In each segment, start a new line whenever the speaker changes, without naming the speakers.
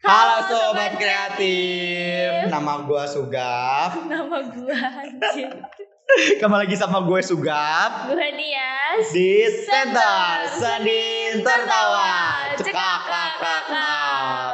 Halo sobat kreatif. Nama gue Sugap.
Nama gue anjing.
Kamu lagi sama gue Sugap
Gue Nias.
di Center Seni Tertawa. Cekak kak kak kak.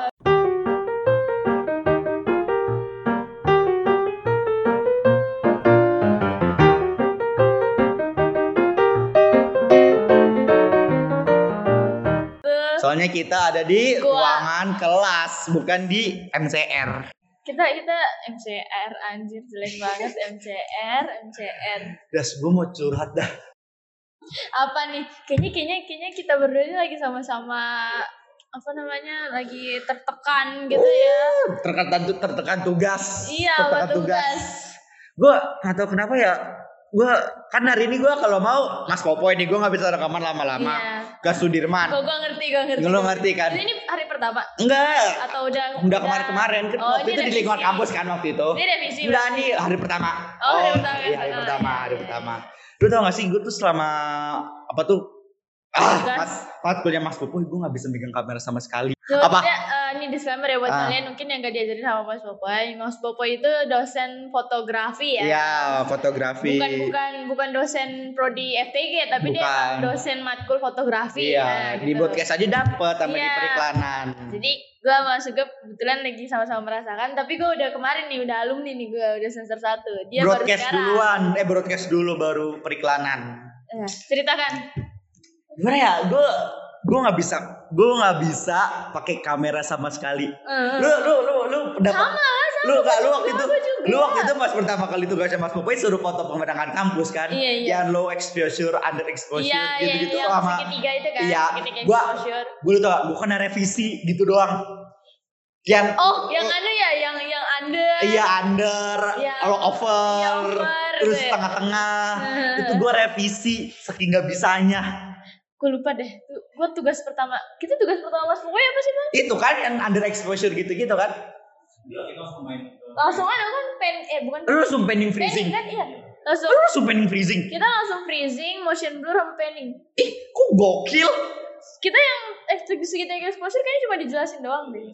Be-
Soalnya kita ada di
Gua.
ruangan kelas, bukan di MCR.
Kita kita MCR anjir jelek banget MCR MCR.
Das, gue mau curhat dah.
Apa nih? Kayaknya kayaknya kayaknya kita berdua ini lagi sama-sama apa namanya lagi tertekan gitu ya.
Tertekan tu- tertekan tugas.
Iya,
tertekan
buat tugas.
Gue nggak tahu kenapa ya. Gue kan hari ini gue kalau mau Mas Popo ini gue nggak bisa rekaman lama-lama.
Iya.
Ke Sudirman.
Gue gue ngerti gue ngerti.
Lo ngerti kan?
Ini, ini hari pertama
Enggak,
atau udah
Udah kemarin-kemarin kan
Oh,
waktu
ini
itu di
revisi.
lingkungan kampus kan waktu itu.
Ini revisi.
Enggak
berarti.
nih hari pertama.
Oh, hari pertama.
Iya, hari
Oh,
pertama,
iya,
hari
iya.
pertama. Lu tau gak sih gue tuh selama apa tuh Ah,
Tugas.
pas, pas kuliah Mas Pupuh gue gak bisa megang kamera sama sekali.
So,
Apa?
kita, eh, ini disclaimer ya buat
Ah.
kalian mungkin yang gak diajarin sama Mas Popoy. Mas Popoy itu dosen fotografi
Iya,
ya.
fotografi.
Bukan bukan bukan dosen prodi FTG tapi dia
Bukan.
emang dosen matkul fotografi.
Iya,
Nah,
di
gitu.
podcast aja dapet sama di
Iya.
periklanan.
Jadi gue sama Sugep kebetulan lagi sama-sama merasakan tapi gue udah kemarin nih udah alumni nih gue udah semester 1. Dia baru
broadcast
sekarang.
duluan, eh broadcast dulu baru periklanan.
Eh, ceritakan.
Gimana ya? Gue gue nggak bisa, gue nggak bisa pakai kamera sama sekali.
Eh,
Lu lu lu lu pendapat
sama sama.
lu gak lu waktu
gua
itu
juga.
lu waktu itu pas pertama kali tugasnya Mas Popoy suruh foto pemandangan kampus kan
Iya, iya.
yang low exposure under exposure
Iya, iya,
gitu gitu
iya, yang
sama
segitiga itu kan,
Iya,
segitiga
gua-
exposure.
gue lu tau gue kena revisi gitu doang yang
Oh, yang anu ya, yang yang under.
iya under
Iya.
all over,
Iya, over,
terus
gitu ya.
tengah-tengah
Heeh.
itu gue revisi saking gak bisanya
gue lupa deh Tu- gua tugas pertama kita tugas pertama mas Pupoy apa sih bang
itu kan yang under exposure gitu gitu kan
langsung aja kan pen eh bukan
lu langsung pending
panning
freezing
kan
lu
iya langsung
langsung pending freezing
kita langsung freezing motion blur sama panning
ih kok gokil
kita yang eksekusi kita exposure kayaknya cuma dijelasin doang deh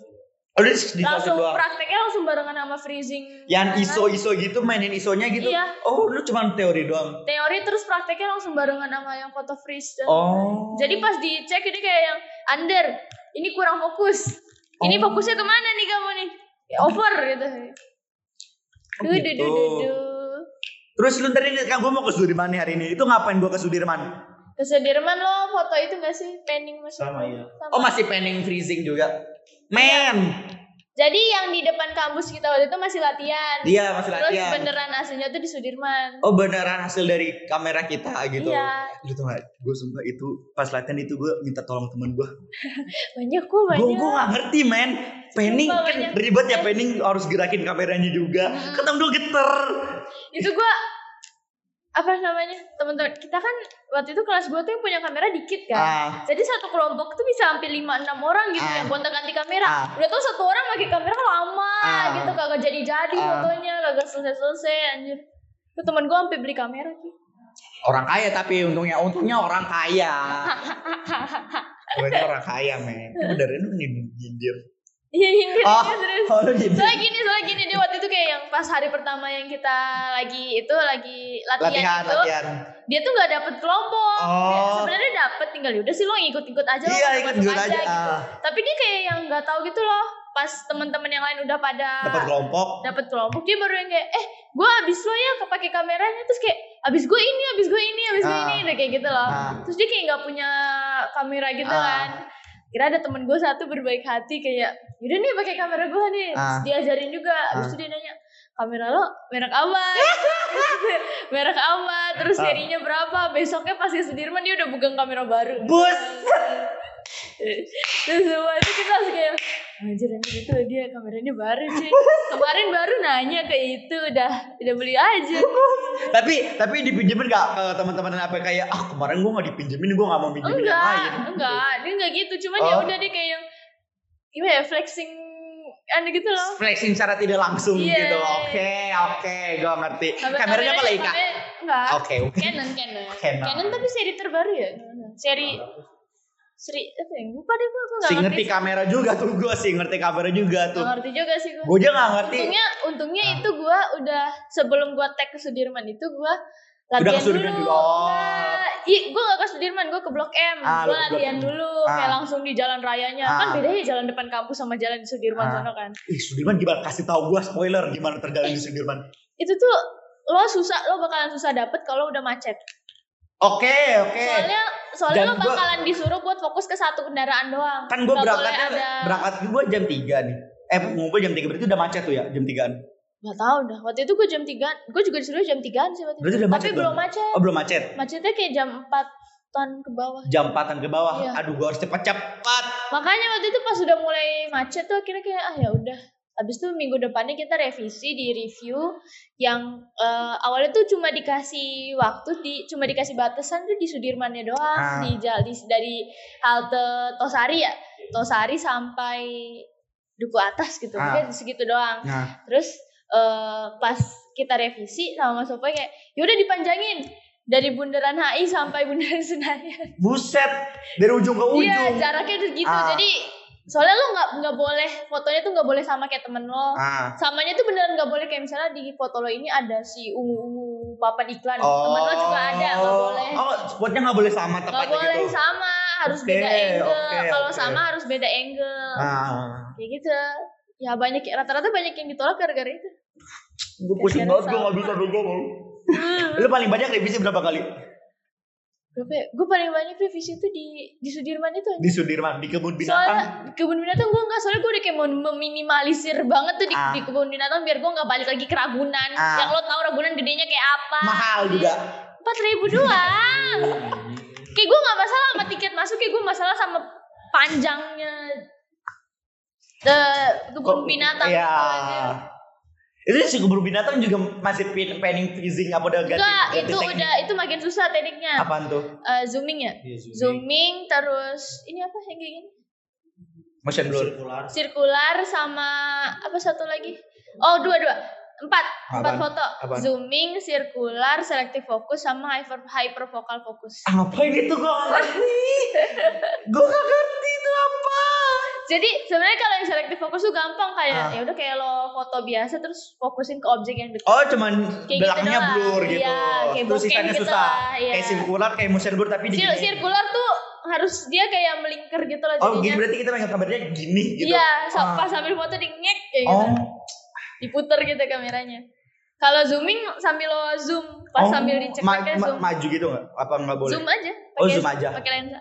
Udah di
langsung
doang.
prakteknya langsung barengan sama freezing Kan?
yang iso-iso gitu mainin isonya gitu.
Iya.
Oh, lu cuman teori doang.
teori terus prakteknya langsung barengan sama yang foto freeze dan-
Oh.
jadi pas dicek ini kayak yang under ini kurang fokus ini
Oh.
fokusnya kemana nih kamu nih Ya, over gitu
Oh,
duh, duh, duh, duh,
gitu.
duh.
Terus lu tadi kan gue mau ke Sudirman nih hari ini. Itu ngapain gue ke Sudirman?
Ke Sudirman lo foto itu gak sih? Pending masih.
sama ya
Oh, masih pending freezing juga. Men.
Jadi yang di depan kampus kita waktu itu masih latihan.
Dia Iya, masih
Iya. Terus
latihan.
beneran aslinya tuh di Sudirman.
Oh, beneran hasil dari kamera kita gitu.
Iya.
Lu tau gak, gue sumpah itu pas latihan itu gue minta tolong temen gue.
Banyak kok banyak.
Gue gue gak ngerti, men. Penning
Sumpah,
kan
banyak.
ribet ya Penning harus gerakin kameranya juga. Ketemu gue geter.
Itu gua apa namanya? Teman-teman, kita kan waktu itu kelas gua tuh yang punya kamera dikit kan.
Ah.
Jadi satu kelompok tuh bisa hampir 5 6 orang gitu
Ah.
yang kontak-ganti kamera.
Ah.
Udah tau satu orang pakai kamera lama
Ah.
gitu kagak jadi-jadi
Ah.
fotonya, kagak selesai-selesai anjir. Itu temen gua sampai beli kamera sih.
Orang kaya tapi untungnya untungnya orang kaya. Untungnya orang kaya men. Itu bener lu nyindir.
Iya, ini
Oh,
serius.
oh, lu nyindir.
soalnya gini soalnya gini dia waktu itu kayak yang pas hari pertama yang kita lagi itu lagi latihan,
Latihan,
itu
latihan.
dia tuh nggak dapet kelompok Dia
Oh.
sebenarnya dapet tinggal ya udah sih lo ngikut-ngikut aja lo
Iya,
masuk-masuk
ikut-ikut aja,
gitu
ah.
tapi dia kayak yang nggak tahu gitu loh pas teman-teman yang lain udah pada
Dapat kelompok.
dapet kelompok dia baru yang kayak eh gue abis lo ya kepake kameranya terus kayak abis gue ini abis gue ini abis gue
Ah.
ini udah kayak gitu loh
Ah.
terus dia kayak nggak punya kamera gitu
Ah.
kan kira ada temen gue satu berbaik hati kayak yaudah nih pakai kamera gue nih terus
Ah.
diajarin juga terus dia nanya kamera lo merek apa merek apa terus
Ah.
serinya berapa besoknya pasti Sudirman dia udah pegang kamera baru
Bus.
terus semua itu kita langsung kayak anjir anjir itu dia kameranya baru sih kemarin baru nanya ke itu udah udah beli aja
tapi tapi dipinjemin gak ke teman-teman apa kayak ah kemarin gue gak dipinjemin gue gak mau pinjemin yang
enggak
lain.
enggak dia enggak gitu cuman
Oh.
ya udah dia kayak yang gimana ya flexing anu gitu loh
Flexing secara tidak langsung
Iya.
gitu. Oke, oke, gue ngerti.
Kamer-
Kameranya apa lagi, Kak?
kameranya- enggak
Oke.
Canon, Canon.
Canon.
Canon tapi seri terbaru ya? Seri Sri, apa ya? lupa deh gue, gue gak
Si ngerti kan, kamera juga tuh gue sih ngerti kamera juga
Gak
tuh.
ngerti juga sih gue.
Gue aja nggak ngerti.
Untungnya, untungnya
Ah.
itu gue udah sebelum gue tag ke Sudirman itu gue
ke
latihan
Sudirman
dulu.
dulu. Oh.
Nah, Ih, gue gak ke Sudirman, gue ke Blok M.
Ah, lu ke
gue
Blok
latihan
M.
dulu,
Ah.
kayak langsung di jalan rayanya.
Ah.
Kan bedanya jalan depan kampus sama jalan di Sudirman
Ah.
sana kan.
Ih Sudirman gimana? Kasih tahu gue spoiler gimana terjadi di Sudirman.
Itu tuh lo susah, lo bakalan susah dapet kalau udah macet.
Oke oke.
Soalnya, soalnya
Eh. Dan
lo bakalan disuruh buat fokus ke satu kendaraan doang.
Kan gue
Nggak boleh
berangkatnya
ada...
berangkat gue jam 3 nih. Eh ngumpul jam 3 berarti udah macet tuh ya jam 3an.
Gak tau dah, waktu itu gue jam 3 Gue juga disuruh jam 3an sih waktu
Berarti udah
itu Tapi
macet dong?
belum macet
Oh belum macet.
Macetnya kayak jam 4an ke bawah
Jam 4an ke bawah.
Iya.
Aduh gue harus cepat-cepat.
Makanya waktu itu pas udah mulai macet tuh akhirnya kayak ah ya udah Habis itu minggu depannya kita revisi di review yang eh, awalnya tuh cuma dikasih waktu di cuma dikasih batasan tuh di Sudirmannya doang
Ah.
di, jal- di- dari halte Tosari ya Tosari sampai Duku Atas gitu
Ah.
Pokoknya segitu doang
Nah
Terus eh, pas kita revisi sama Mas Opoy kayak yaudah dipanjangin dari Bundaran HI sampai Bundaran Senayan.
Buset, dari ujung ke ujung.
Iya jaraknya udah gitu.
Oh, Ah.
Jadi soalnya lo nggak nggak boleh fotonya tuh nggak boleh sama kayak temen lo.
Ah.
Samanya tuh beneran nggak boleh kayak misalnya di foto lo ini ada si ungu-ungu papan iklan. Temen lo juga ada nggak boleh.
Oh, spotnya nggak boleh sama
Nggak
tempatnya
boleh
gitu.
sama, harus
Oke,
beda angle.
oke,
Kalau
oke.
sama harus beda angle.
Ah,
Kayak gitu. Ya banyak rata-rata banyak yang ditolak gara-gara itu.
gue pusing banget, gue
Sama. Hmm.
nggak bisa dong gue mau. Lu paling banyak revisi berapa kali?
Berapa ya? Gue paling banyak revisi tuh di di Sudirman itu
Di
aja.
Sudirman, di kebun
soalnya
binatang.
di kebun binatang gue enggak, soalnya gue udah kayak mau meminimalisir banget tuh di,
Ah.
di kebun binatang biar gue nggak balik lagi ke Ragunan.
Ah.
Yang lo tau Ragunan gedenya kayak apa?
Mahal juga.
Empat ribu doang. kayak gue nggak masalah sama tiket masuk, kayak gue masalah sama panjangnya eh, kebun binatang.
Iya.
Soalnya.
Itu si kebun binatang juga masih pin- panning freezing apa udah ganti?
Enggak,
ganti
itu
teknik?
udah itu makin susah tekniknya.
Apaan tuh?
Eh, zooming ya,
Iya,
zooming terus ini apa yang kayak gini?
Motion blur.
sirkular sama apa satu lagi? Oh dua dua empat empat
Apaan?
foto
Apaan?
zooming sirkular selective focus sama hyper hyper focal focus.
Apa itu gue nggak ngerti? gue nggak ngerti itu apa?
Jadi sebenarnya kalau yang selective focus tuh gampang kayak
Ah.
ya udah kayak lo foto biasa terus fokusin ke objek yang dekat.
Oh cuman
Kayak
belakangnya
gitu doang.
blur gitu.
Iya, kayak
Terus
bokeh
sisanya
gitu
susah.
lah, iya.
Kayak sirkular kayak motion blur tapi di
Sir- sirkular tuh harus dia kayak melingkar gitu loh
Oh, gini
jadinya.
berarti kita pengen kabarnya gini gitu.
Iya, so-
Ah.
pas sambil foto di ngek kayak
Oh,
gitu. Diputer gitu kameranya. Kalau zooming sambil lo zoom, pas
oh,
sambil dicek
ma-
pakai
ma-
zoom.
maju gitu nggak? Apa nggak boleh?
Zoom aja.
Oh,
pakai-
zoom aja.
Pakai lensa.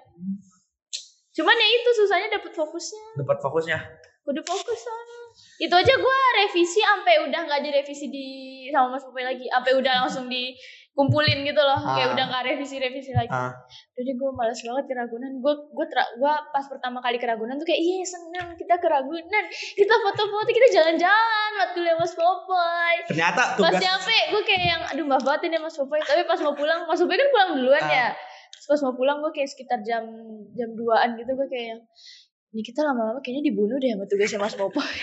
Cuman ya itu susahnya dapet fokusnya.
Dapat fokusnya.
Kudu fokus soalnya. Itu aja gua revisi sampai udah nggak direvisi di sama Mas Popoy lagi. Sampai udah langsung dikumpulin gitu loh. Kayak
Ah.
udah nggak revisi-revisi lagi.
Ah.
Jadi gua malas banget ke Ragunan. Gua gua, tra- gua pas pertama kali ke Ragunan tuh kayak iya seneng kita ke Ragunan. Kita foto-foto, kita jalan-jalan waktu lihat Mas Popoy.
Ternyata
Pas
tugas
nyampe gue kayak yang aduh mbah banget ini Mas Popoy tapi pas mau pulang Mas Popoy kan pulang duluan
Ah.
ya Terus pas mau pulang gue kayak sekitar jam jam 2an gitu gue kayak yang ini kita lama-lama kayaknya dibunuh deh sama tugasnya Mas Popoy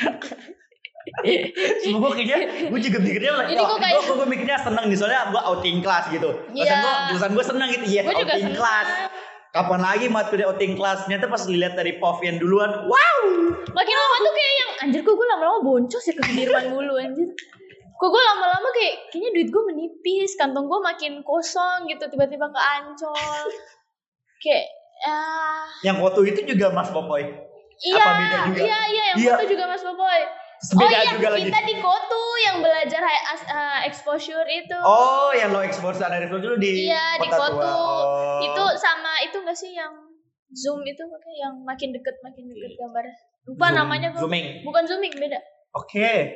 semua kayaknya gue juga mikirnya lah.
Ini gua kayak-
gue, mikirnya seneng nih soalnya gue outing class gitu.
Iya.
Iya. Gue jurusan gue seneng gitu ya
Gua juga
outing
seneng.
class. Kapan lagi materi outing class? Ternyata pas dilihat dari POV yang duluan, wow.
makin lama tuh kayak yang anjir kok gue lama-lama boncos ya ke Sudirman mulu anjir kok gue lama-lama kayak kayaknya duit gue menipis kantong gue makin kosong gitu tiba-tiba ke Ancol kayak ah
Yang foto itu juga Mas Popoy.
Iya,
Apa beda juga?
iya, iya, yang
Iya.
foto juga Mas Popoy.
Beda
oh iya,
juga lagi.
kita di Kotu yang belajar high as- eh, exposure itu.
Oh, yang lo ekspor sana dari dulu di
iya, di
Kota Tua.
Kotu.
Oh.
Itu sama itu gak sih yang zoom itu makanya yang makin deket makin deket gambar. Lupa
Zoom-
namanya gua.
Zooming.
Bukan zooming, beda.
Oke.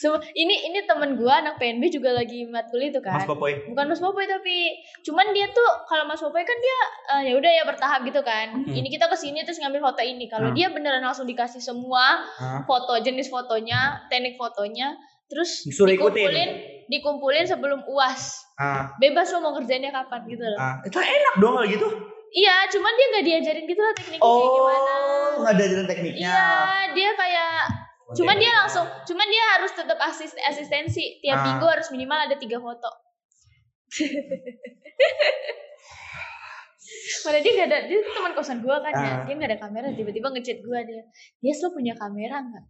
So, ini ini temen gua anak PNB juga lagi matkul itu kan.
Mas Popoy.
Bukan Mas Popoy tapi cuman dia tuh kalau Mas Popoy kan dia eh, ya udah ya bertahap gitu kan.
Mhm.
Ini kita ke sini terus ngambil foto ini. Kalau
Hmm.
dia beneran langsung dikasih semua
Hah?
foto jenis fotonya teknik fotonya terus
Disuruh
dikumpulin
ikutin.
dikumpulin sebelum uas
Ah,
bebas lo mau ngerjainnya kapan gitu loh
ah. Itu enak dong kalau gitu.
iya cuman dia nggak diajarin gitu loh tekniknya kayak gimana
Oh, nggak ada jalan tekniknya.
iya dia kayak cuman dia langsung cuman dia harus tetap asis asistensi tiap
Ah.
minggu harus minimal ada tiga foto Padahal dia gak ada, dia tuh teman kosan gue kan ya.
Ah.
Dia gak ada kamera, tiba-tiba ngechat gue dia. Dia lo punya kamera gak?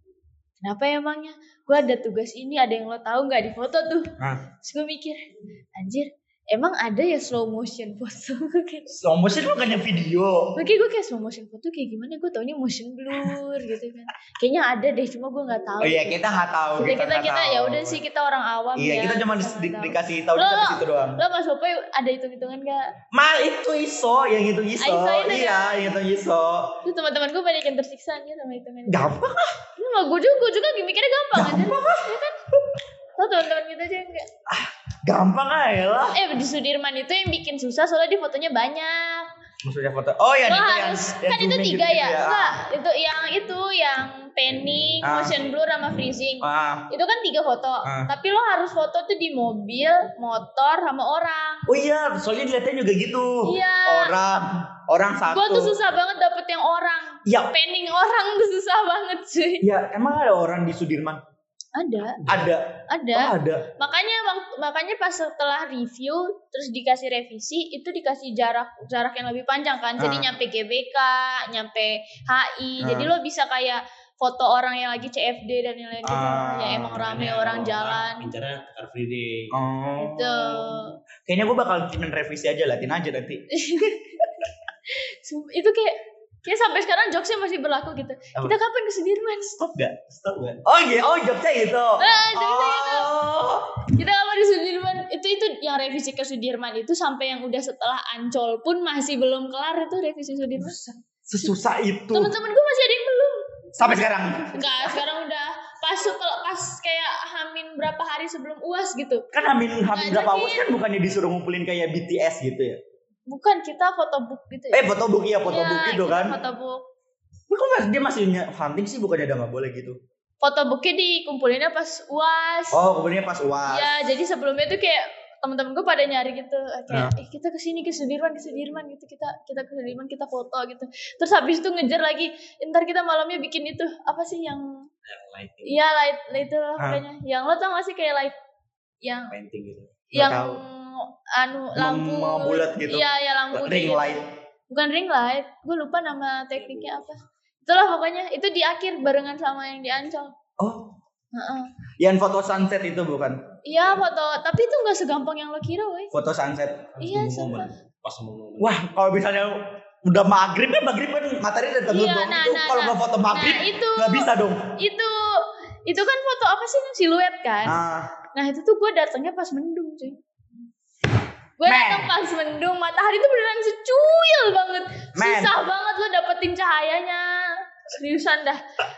Kenapa emangnya? Gue ada tugas ini, ada yang lo tahu gak di foto tuh.
Nah,
Terus gue mikir, anjir, emang ada ya slow motion foto? Kayak-
slow motion bukannya video.
Oke gue kayak slow motion foto kayak gimana? Gue taunya motion blur gitu kan. Kayaknya ada deh, cuma gue gak tahu. gitu.
Oh iya, kita nggak tahu.
kita kita,
nggak
kita
tahu.
ya udah sih kita orang awam
Iya,
ya.
kita cuma di,
nggak
di-
tahu.
dikasih tahu di
Lo-
sampai
lo-
situ doang.
Lo Mas Popoy ada hitung-hitungan gak?
Mal itu iso, yang itu iso.
Ah, iso itu
iya, yang itu iso.
Terus teman-teman gue banyak yang tersiksa aja sama hitungan.
Gampang ah.
Ini mah gue juga, gue juga mikirnya gampang aja. Ya kan? Lo teman-teman kita aja yang enggak.
Gampang ah ya lah.
Eh di Sudirman itu yang bikin susah soalnya di fotonya banyak.
Maksudnya foto. Oh ya,
Lo
itu yang,
harus
yang
kan itu
zooming
tiga
gitu-gitu
ya?
Ah.
Enggak, itu yang itu yang panning,
Ah.
motion blur sama freezing.
Ah.
Itu kan tiga foto,
Ah.
tapi lo harus foto tuh di mobil, motor, sama orang.
Oh iya, soalnya dilihatnya juga gitu.
Iya.
Orang, orang satu.
Gue tuh susah banget dapet yang orang.
Ya,
Panning orang tuh susah banget cuy.
ya emang ada orang di Sudirman?
Ada,
Ada.
ada.
Oh, ada.
makanya wak- makanya pas setelah review terus dikasih revisi itu dikasih jarak jarak yang lebih panjang kan jadi
Ah.
nyampe GBK nyampe
Ah.
HI jadi lo bisa kayak foto orang yang lagi CFD dan yang lain
Ah, iya.
ya emang rame
Makanya
orang
kalau
jalan
Incarnya car Iya, free day.
Oh.
gitu
Kayaknya gue bakal cuman revisi aja, latin aja nanti.
Sum- itu kayak kayak sampai sekarang jokesnya masih berlaku gitu kita kapan ke Sudirman
Stop gak? Stop gak? Oh iya, oh jokesnya gitu.
Ah, jokesnya
oh.
kita kapan di Sudirman itu itu yang revisi ke Sudirman itu sampai yang udah setelah Ancol pun masih belum kelar itu revisi Sudirman
Sesusah itu.
teman-teman gue masih ada yang belum
Sampai sekarang.
Enggak, sekarang udah pas kalau pas kayak hamin berapa hari sebelum UAS gitu.
Kan Hamin, Hamin
Nggak
berapa
jadi.
hours kan bukannya disuruh ngumpulin kayak BTS gitu ya?
Bukan kita foto book gitu ya.
Eh, fotobook iya, fotobook
Ya,
gitu
kita
kan.
Foto book.
Tapi kok mas- dia masih ny- hunting sih bukannya udah gak boleh gitu.
Foto booknya dikumpulinnya pas UAS.
Oh, kemudian pas UAS.
Ya, jadi sebelumnya tuh kayak teman-teman gue pada nyari gitu kayak
Nah.
eh kita ke sini ke Sudirman ke Sudirman gitu kita kita ke Sudirman kita foto gitu terus habis itu ngejar lagi ntar kita malamnya bikin itu apa sih yang
Yang lighting,
ya light light itu lah
Ah.
pokoknya yang lo tau gak sih kayak light yang
painting gitu.
Nggak
yang
tahu.
anu lampu
mau bulat gitu.
Iya, ya lampu
Ring
gitu.
light.
Bukan ring light, gue lupa nama tekniknya apa. Itulah pokoknya itu di akhir barengan sama yang di Ancol.
Oh,
Heeh.
yang foto sunset itu bukan?
Iya foto, tapi itu nggak segampang yang lo kira, woi.
Foto sunset.
Iya,
Pas momen,
sumpah.
Pas momen.
Wah, kalau misalnya udah maghrib kan maghrib kan matahari udah tertutup.
Iya, nah,
itu
nah,
kalau
nah.
mau foto maghrib
Nah itu,
nggak bisa dong.
itu, itu kan foto apa sih siluet kan?
Nah,
Nah itu tuh gue datangnya pas mendung cuy. Gue
Men.
datang pas mendung, matahari tuh beneran secuil banget.
Men.
Susah banget lo dapetin cahayanya. Seriusan dah.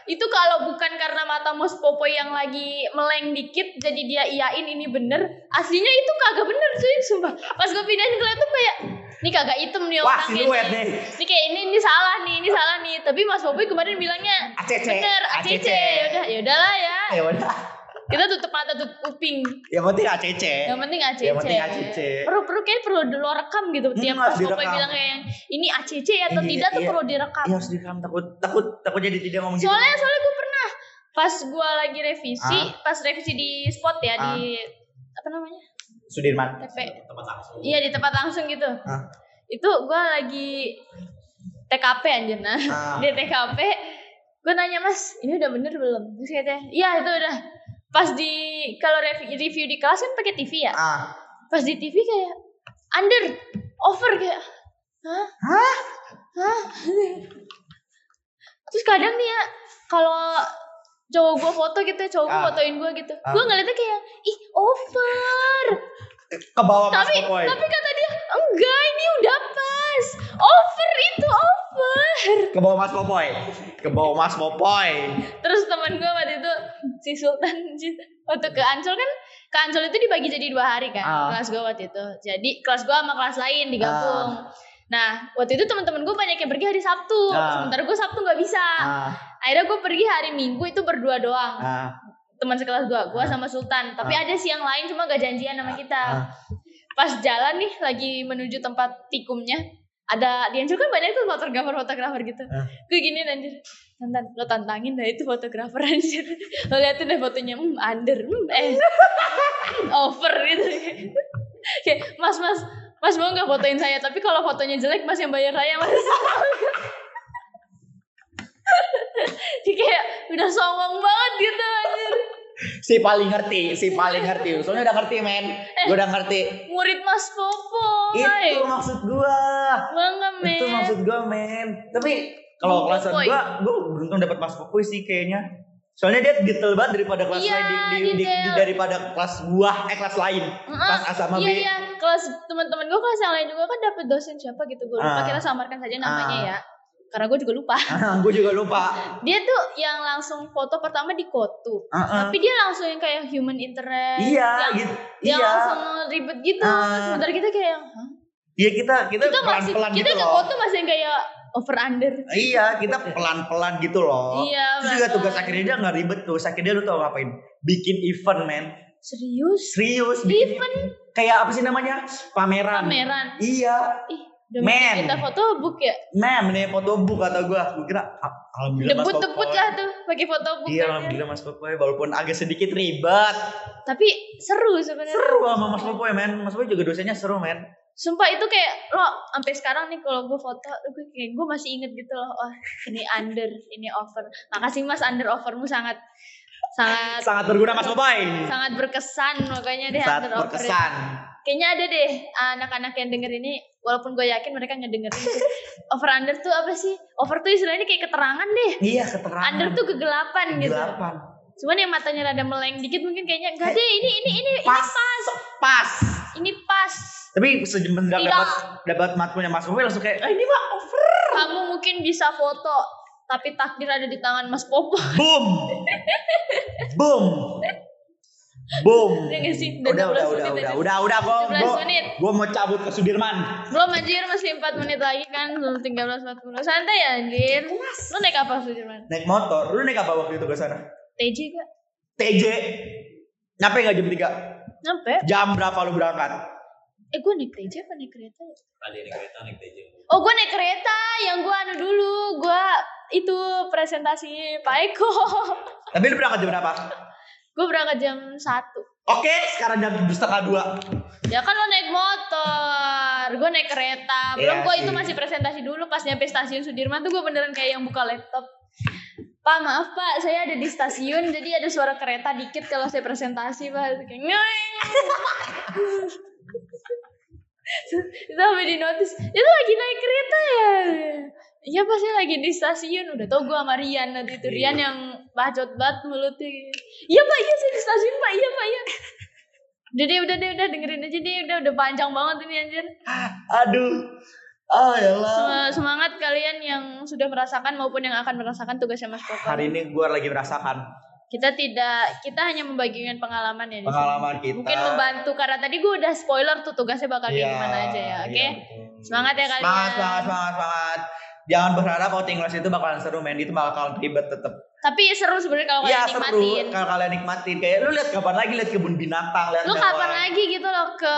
Itu kalau bukan karena mata Mas Popoy yang lagi meleng dikit jadi dia iyain ini bener. Aslinya itu kagak bener cuy, sumpah. Pas gue pindahin ke laptop kayak ini kagak item nih
wah
orang
siluet deh.
Ini kayak ini ini salah nih, ini salah nih. Tapi Mas Popoy kemarin bilangnya
ACC.
bener, ACC. Yaudah, yaudahlah ya.
Ya udah.
Kita tutup mata, tutup kuping.
Yang penting ACC.
Yang penting ACC.
Eh, Yang penting ACC.
Perlu perlu kayak perlu dulu rekam gitu tiap
Hmm, harus
pas Popoy
direkam.
bilang kayak yang ini ACC ya atau
Iya,
tidak tuh
iya.
perlu direkam.
Ya harus direkam takut takut takut jadi tidak ngomong gitu.
Soalnya soalnya gue pernah pas gue lagi revisi,
Ah.
pas revisi di spot ya di apa namanya
Sudirman.
TP,
Tempat langsung.
iya di tempat langsung gitu.
Ah.
Itu gue lagi TKP anjir nah.
Ah.
Di TKP gue nanya mas ini udah bener belum? Terus katanya iya itu udah. Pas di kalau review, review di kelas kan pakai TV ya.
Ah.
pas di TV kayak under over kayak hah
Hah?
hah terus kadang nih ya kalau cowok gue foto gitu cowok gue
Ah.
fotoin gue gitu
Ah.
gue ngeliatnya kayak ih over
Ke bawah Mas
tapi
Popoy.
tapi kata dia enggak ini udah pas over itu over
Ke bawah Mas Popoy. Ke bawah Mas Popoy.
terus teman gue waktu itu si Sultan si- waktu ke Ancol kan ke Ancol itu dibagi jadi dua hari kan
Ah.
kelas gue waktu itu jadi kelas gue sama kelas lain digabung nah waktu itu teman-teman gue banyak yang pergi hari Sabtu
Ah.
sementara gue Sabtu nggak bisa
Ah.
akhirnya gue pergi hari Minggu itu berdua doang
Ah.
teman sekelas gue gue sama Sultan tapi ada sih yang lain cuma gak janjian sama kita
Ah.
pas jalan nih lagi menuju tempat tikumnya ada di Ancol kan banyak tuh fotografer fotografer gitu
Ah.
gue gini anjir tantan lo tantangin dah itu fotografer anjir lo liatin deh fotonya hmm under hmm eh over gitu kayak mas mas Mas mau nggak fotoin saya? Tapi kalau fotonya jelek Mas yang bayar saya Mas. Jadi kayak udah songong banget gitu anjir.
si paling ngerti si paling ngerti soalnya udah ngerti men
Eh.
gue udah ngerti
Murid Mas Popo. hai.
itu maksud gue
Bangga men.
itu maksud gue men tapi kalau
Mas
kelas
Popoy.
gue gue beruntung dapat mas Popoy sih kayaknya soalnya dia detail banget daripada kelas
Iya,
lain di, di- di-
detail.
di- daripada kelas gua eh kelas lain
Heeh.
kelas A sama
Iya
B
iya kelas teman-teman gue kelas yang lain juga kan dapet dosen siapa gitu gue lupa
Ah.
kita samarkan saja namanya
Ah.
ya karena gue juga lupa
gue juga lupa
dia tuh yang langsung foto pertama di kotu
Heeh.
tapi dia langsung yang kayak human interest
iya
yang,
gitu
yang
iya
langsung ribet gitu
Ah.
sementara kita kayak yang, "Hah?"
iya kita kita
kita
pelan
masih
pelan gitu
kita ke
loh
kotu masih yang kayak over under
iya kita pelan pelan gitu loh
Iya,
Terus juga
bener.
tugas akhirnya dia nggak ribet tuh akhirnya lu tau ngapain bikin event men
serius
serius bikin
even
kayak apa sih namanya pameran
pameran
iya
ih udah
Men.
mesti kita foto book ya
mem nih foto book kata gue gue kira "Ah, alhamdulillah mas
debut-debut
Popoy."
lah tuh pakai foto book
iya
aja.
alhamdulillah mas Popoy walaupun agak sedikit ribet
tapi seru sebenarnya
seru sama mas Popoy men mas Popoy juga dosennya seru men
Sumpah itu kayak lo sampai sekarang nih kalau gue foto gue kayak gue masih inget gitu loh. Oh, ini under, ini over. Makasih Mas under overmu sangat sangat
sangat berguna mas Popoy
sangat berkesan makanya deh
saat
under over.
berkesan
Kayaknya ada deh anak-anak yang denger ini walaupun gue yakin mereka ngedengerin. sih. over under tuh apa sih? Over tuh istilahnya kayak keterangan deh.
iya keterangan
Under tuh kegelapan gitu.
Delapan.
Cuman yang matanya rada meleng dikit mungkin kayaknya enggak deh ini ini ini
pas pas
ini pas.
tapi semenjak
Tidak.
dapat dapat matkulnya mas Popoy langsung kayak "Ah, ini mah over
Kamu mungkin bisa foto tapi takdir ada di tangan Mas Popo.
boom boom boom
Udah Iya nggak sih? Udah
udah
12
udah udah
menit
udah
aja.
udah udah gua
12
gua-
menit.
gua mau cabut ke Sudirman
Belum anjir masih 4 menit lagi kan Belum 13.40 Santai ya anjir Lu naik apa Sudirman?
naik motor lu naik apa waktu itu ke sana
TJ gak?
TJ nyampe nggak jam
Nyampe
3 jam berapa lu berangkat
Eh gue naik TJ apa naik kereta ya?
Ada yang naik kereta naik TJ.
Oh gue naik kereta Yang gue anu dulu Gue itu presentasi Pak Eko
tapi lu berangkat jam berapa
Gue berangkat jam 1
oke sekarang jam setengah dua
Ya kan lo naik motor Gue naik kereta
Iya
Belum gue
sih.
itu masih presentasi dulu Pas nyampe stasiun Sudirman tuh gue beneran kayak yang buka laptop Pak maaf pak, saya ada di stasiun jadi ada suara kereta dikit kalau saya presentasi pak. Kayak "Nyoeng." Itu sampai di notice, itu "Ya, lagi naik kereta ya. Iya pak saya lagi di stasiun, udah tau gue sama Rian nanti itu
Iya.
Rian yang bacot banget mulutnya. Iya pak, iya saya di stasiun pak, iya pak, iya. Udah deh, udah deh, udah dengerin aja deh, udah udah panjang banget ini anjir.
aduh ah ya Allah
Sem- Semangat kalian yang sudah merasakan maupun yang akan merasakan tugasnya Mas Popo.
hari ini gua lagi merasakan
kita tidak kita hanya membagikan pengalaman ya di sini.
pengalaman kita
mungkin membantu karena tadi gue udah spoiler tuh tugasnya bakal kayak
Iya,
gimana aja ya oke
iya, betul.
semangat ya kalian
semangat semangat semangat semangat jangan berharap outing class itu bakalan seru men itu bakalan ribet tetep
tapi seru sebenarnya kalau
Iya
kalian nikmatin
seru kalau kalian nikmatin kayak lu lihat kapan lagi lihat kebun binatang lihat
lu kapan
hewan.
lagi gitu loh ke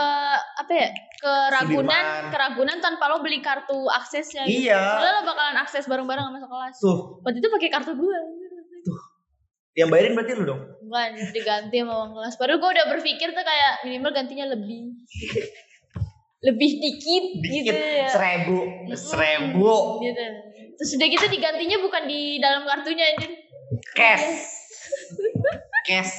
apa ya ke Ragunan
Sudirman.
ke Ragunan tanpa lo beli kartu aksesnya gitu.
iya
Soalnya lo bakalan akses bareng-bareng sama sekelas
tuh
waktu itu pakai kartu gue
yang bayarin berarti lu dong
bukan diganti sama uang kelas padahal gue udah berpikir tuh kayak minimal gantinya lebih lebih dikit,
dikit
gitu ya
seribu
Mm-mm.
seribu
gitu. Terus udah gitu digantinya bukan di dalam kartunya anjir.
cash cash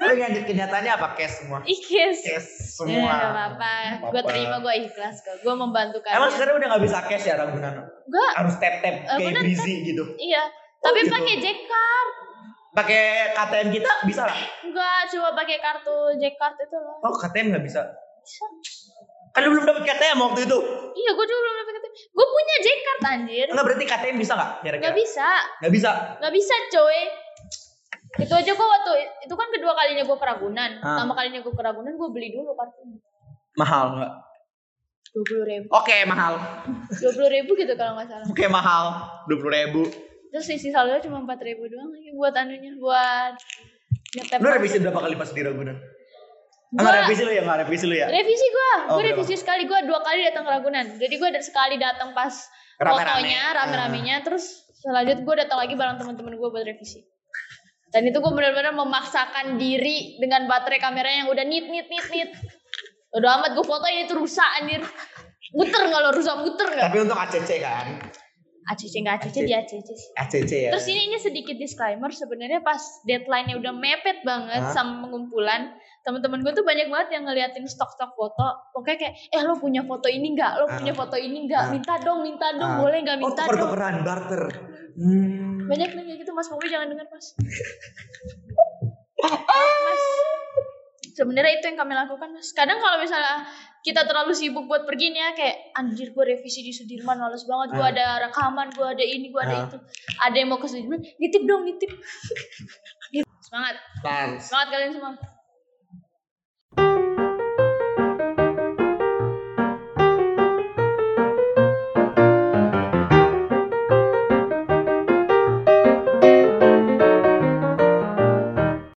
lu yang kenyataannya apa cash semua
Ikes.
cash
Ya,
Iya, semua
gak apa-apa.
Nggak
Gue
apa-apa.
terima, gue ikhlas kok. Gue membantu kalian.
emang sekarang udah nggak bisa cash ya Ragunan
Eh, Gua-
harus tap tap kayak
Ragunan
Brizi gitu
iya. Tapi
gitu.
pakai jack card.
pakai KTM kita bisa lah
Enggak, cuma pakai kartu jack card itu loh.
oh KTM nggak bisa
Bisa.
kan lu belum dapet KTM waktu itu
Iya, gue juga belum dapet kartu. Gue punya jack card anjir.
enggak berarti KTM bisa nggak kira-kira
Gak bisa.
nggak bisa
Gak bisa coy. Itu aja gue waktu itu kan kedua kalinya gue keragunan.
Ah.
Pertama kalinya gue keragunan gue beli dulu kartunya.
mahal nggak
Dua puluh ribu,
oke mahal
dua puluh ribu gitu kalau nggak salah.
oke mahal dua puluh ribu
terus isi saldo cuma empat ribu doang lagi buat anunya buat ngetep
lu revisi berapa kali pas di Ragunan
Gua-
enggak revisi lu ya enggak revisi lu ya
revisi gue
Oh, berapa?
gue revisi sekali gue dua kali datang ke Ragunan jadi gue ada sekali datang pas
Rame-rame. Ah.
fotonya rame-ramenya terus selanjut gue datang lagi bareng teman-teman gue buat revisi dan itu gue benar-benar memaksakan diri dengan baterai kamera yang udah nit nit nit nit Udah amat gue foto ini tuh rusak anjir. Muter nggak lo rusak muter nggak?
Tapi untuk ACC kan,
ACC nggak ACC di ACC sih.
ACC ya.
Terus ini ini sedikit disclaimer sebenarnya pas deadline-nya udah mepet banget
Hah?
sama pengumpulan teman-teman gue tuh banyak banget yang ngeliatin stok-stok foto pokoknya kayak eh lo punya foto ini nggak lo
Ah.
punya foto ini nggak
Ah.
minta dong minta dong
Ah.
boleh nggak
Oh,
minta dong
tuker-tukeran barter. Hmm.
banyak nih kayak gitu mas Bobi jangan dengar mas Maaf, mas sebenarnya itu yang kami lakukan mas kadang kalau misalnya kita terlalu sibuk buat pergi nih ya kayak anjir gue revisi di Sudirman males banget gue
Ah.
ada rekaman gue ada ini gue ada
Ah.
itu ada yang mau ke Sudirman nitip dong nitip Gitu. semangat
Nah,
semangat kalian semua